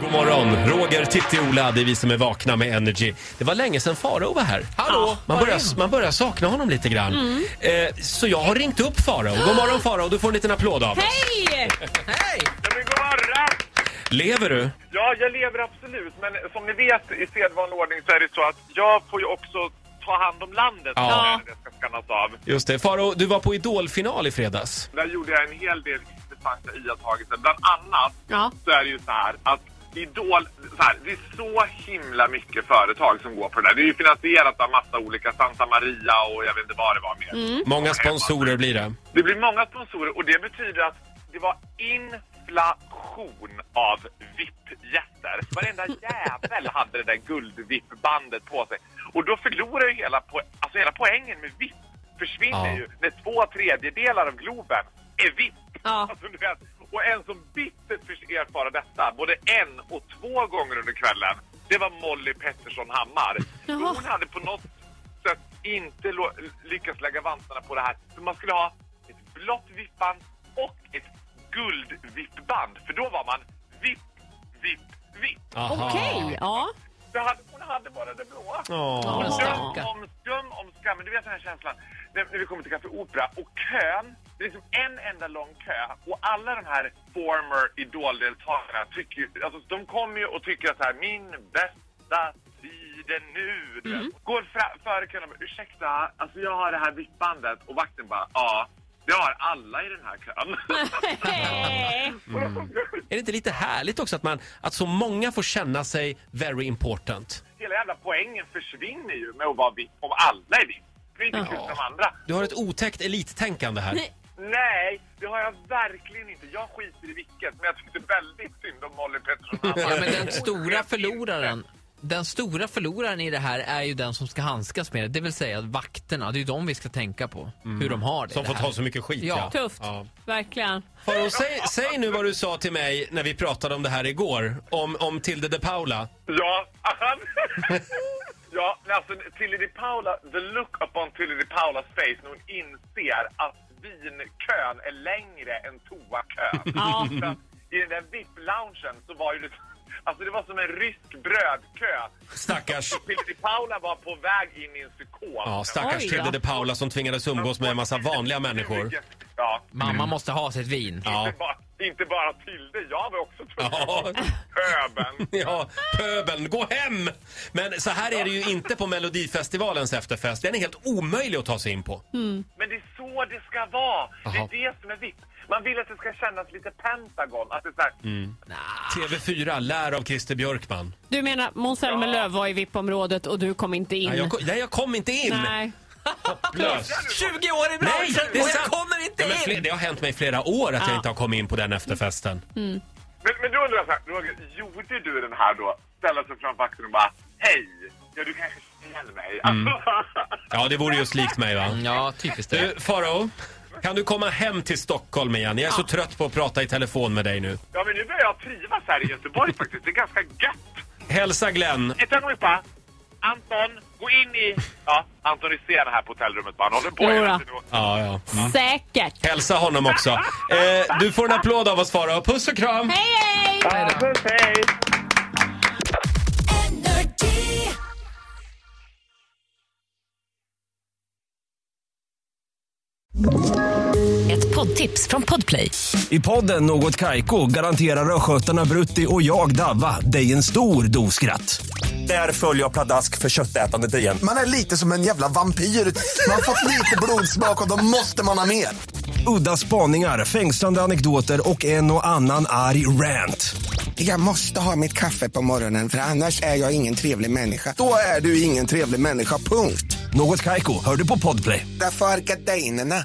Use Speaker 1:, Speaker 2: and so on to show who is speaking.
Speaker 1: God morgon! Roger, Titti, Ola, det är vi som är vakna med Energy. Det var länge sedan Farao var här.
Speaker 2: Hallå!
Speaker 1: Man börjar, man börjar sakna honom lite grann. Eh, så jag har ringt upp Farao. God morgon Farao, du får en liten applåd av oss.
Speaker 3: Hej!
Speaker 4: Ja, men god morgon!
Speaker 1: Lever du?
Speaker 4: Ja, jag lever absolut, men som ni vet i sedvanlig ordning så är det så att jag får ju också ta hand om landet
Speaker 1: Ja.
Speaker 4: när det ska skannas av.
Speaker 1: Just det. Farao, du var på Idolfinal i fredags.
Speaker 4: Där gjorde jag en hel del intressanta iakttagelser. Bland annat
Speaker 3: Ja.
Speaker 4: så är det ju så här att Idol, så här, det är så himla mycket företag som går på det där. Det är ju finansierat av massa olika, Santa Maria och jag vet inte vad det var mer.
Speaker 1: Många sponsorer blir det.
Speaker 4: Det blir många sponsorer och det betyder att det var inflation av VIP-gäster. Varenda jävel hade det där guld-VIP-bandet på sig. Och då förlorar ju hela, po- alltså hela poängen med VIP försvinner
Speaker 1: Ja.
Speaker 4: ju när två tredjedelar av Globen är VIP.
Speaker 3: Ja.
Speaker 4: Alltså, du vet, och en som bittert fick erfara detta både en och två gånger under kvällen, det var Molly Pettersson Hammar.
Speaker 3: Jaha.
Speaker 4: Hon hade på något sätt inte lo- lyckats lägga vantarna på det här. För man skulle ha ett blått vippband och ett guldvippband. För då var man vipp, vipp, vipp.
Speaker 1: Aha.
Speaker 3: Okej, ja.
Speaker 4: Det hade, hon hade bara det blåa.
Speaker 1: Åh.
Speaker 3: Ja.
Speaker 4: Skum
Speaker 3: Stackarn.
Speaker 4: om skum om skam. Men du vet den här känslan när, när vi kommer till Café Opera och kön, det är liksom en enda lång kö och alla de här former Idol-deltagarna tycker ju- alltså de kommer ju och tycker att så här, min bästa tid är nu. du vet.
Speaker 3: Mm.
Speaker 4: Går fra- före kön och bara, ursäkta, alltså jag har det här vippbandet och vakten bara, ja, det har alla i den här kön.
Speaker 3: Hej!
Speaker 1: Mm. Är det inte lite härligt också att, man, att så många får känna sig very important?
Speaker 4: Hela jävla poängen försvinner ju med att vara vipp om alla är vipp. Det är inte kul som andra.
Speaker 1: Du har ett otäckt elittänkande här.
Speaker 4: Nej, det har jag verkligen inte. Jag skiter i vilket, men jag tyckte väldigt synd om Molly Pettersson Hammar.
Speaker 2: Ja, men den stora förloraren. Den stora förloraren i det här är ju den som ska handskas med det, det vill säga vakterna. Det är ju de vi ska tänka på, hur de har
Speaker 1: Mm.
Speaker 2: det.
Speaker 1: Som
Speaker 2: det
Speaker 1: får
Speaker 2: här.
Speaker 1: ta så mycket skit.
Speaker 2: Ja.
Speaker 3: Tufft,
Speaker 1: Ja.
Speaker 3: verkligen.
Speaker 1: Farao, säg, säg nu vad du sa till mig när vi pratade om det här igår. Om, om Tilde de Paula.
Speaker 4: Ja, han... ja, men alltså Tilly Di Paula, the look upon Tilly Di Paulas face när hon inser att vinkön är längre än toakön.
Speaker 3: Ja.
Speaker 4: För att I den där VIP-loungen så var ju det... Alltså det var som en rysk brödkö.
Speaker 1: Stackars.
Speaker 4: Tilly Di Paula var på väg in i en psykos.
Speaker 1: Ja, stackars
Speaker 3: Oj,
Speaker 1: Tilde
Speaker 3: ja.
Speaker 1: de Paula som tvingades umgås med en massa vanliga människor.
Speaker 4: Ja.
Speaker 2: Mamma måste ha sitt vin.
Speaker 1: Mm. Ja.
Speaker 4: Inte, bara, inte bara till det, jag var också
Speaker 1: Ja.
Speaker 4: tvungen. Höben.
Speaker 1: Ja, pöbeln, gå hem! Men så här är det ju inte på Melodifestivalens efterfest. Den är helt omöjlig att ta sig in på.
Speaker 4: Men det är så det ska vara.
Speaker 1: Jaha.
Speaker 4: Det är det som är vitt. Man vill att det ska kännas lite Pentagon. Att det är så här,
Speaker 1: Mm. TV4, lär av Christer Björkman.
Speaker 3: Du menar Måns Zelmerlöw var i VIP-området och du kom inte in?
Speaker 1: Nej, jag kom, nej, jag kom inte in!
Speaker 3: Nej.
Speaker 1: Löst.
Speaker 2: 20 år i
Speaker 1: Nej,
Speaker 2: branschen
Speaker 1: det är
Speaker 2: och jag
Speaker 1: sant.
Speaker 2: kommer inte
Speaker 1: Ja, men fler-
Speaker 2: in!
Speaker 1: det har hänt mig i flera år att jag
Speaker 3: Ja.
Speaker 1: inte har kommit in på den efterfesten.
Speaker 4: men, men då undrar jag så här, Roger, gjorde du den här då? Ställa sig framför axeln och bara, hej, ja du kanske känner mig. Alltså,
Speaker 1: Mm. Ja, det vore just likt mig va?
Speaker 2: Ja, typiskt det.
Speaker 1: Du, Farao. Kan du komma hem till Stockholm igen? Jag är så trött på att prata i telefon med dig nu.
Speaker 4: ja men nu börjar jag trivas här i Göteborg faktiskt. Det är ganska gött.
Speaker 1: Hälsa Glenn.
Speaker 4: Ett ögonblick bara. Anton, gå in i... Ja, Anton Hysén här på hotellrummet bara. Han håller på
Speaker 3: Jodå.
Speaker 4: hela tiden och-
Speaker 1: Ja, ja.
Speaker 3: Säkert.
Speaker 1: Hälsa honom också. Eh, du får en applåd av oss Farao. Puss och kram!
Speaker 3: Hej, hej!
Speaker 4: Ja, puss, hej.
Speaker 5: Ett poddtips från Podplay.
Speaker 6: I podden Något Kaiko garanterar östgötarna Brutti och jag, Davva, dig en stor dos skratt. Där följer jag pladask för köttätandet igen.
Speaker 7: Man är lite som en jävla vampyr. Man har fått lite blodsmak och då måste man ha mer.
Speaker 6: Udda spaningar, fängslande anekdoter och en och annan arg rant.
Speaker 7: Jag måste ha mitt kaffe på morgonen för annars är jag ingen trevlig människa. Då är du ingen trevlig människa, punkt.
Speaker 6: Något Kaiko, hör du på Podplay.
Speaker 7: Därför arkadeinerna.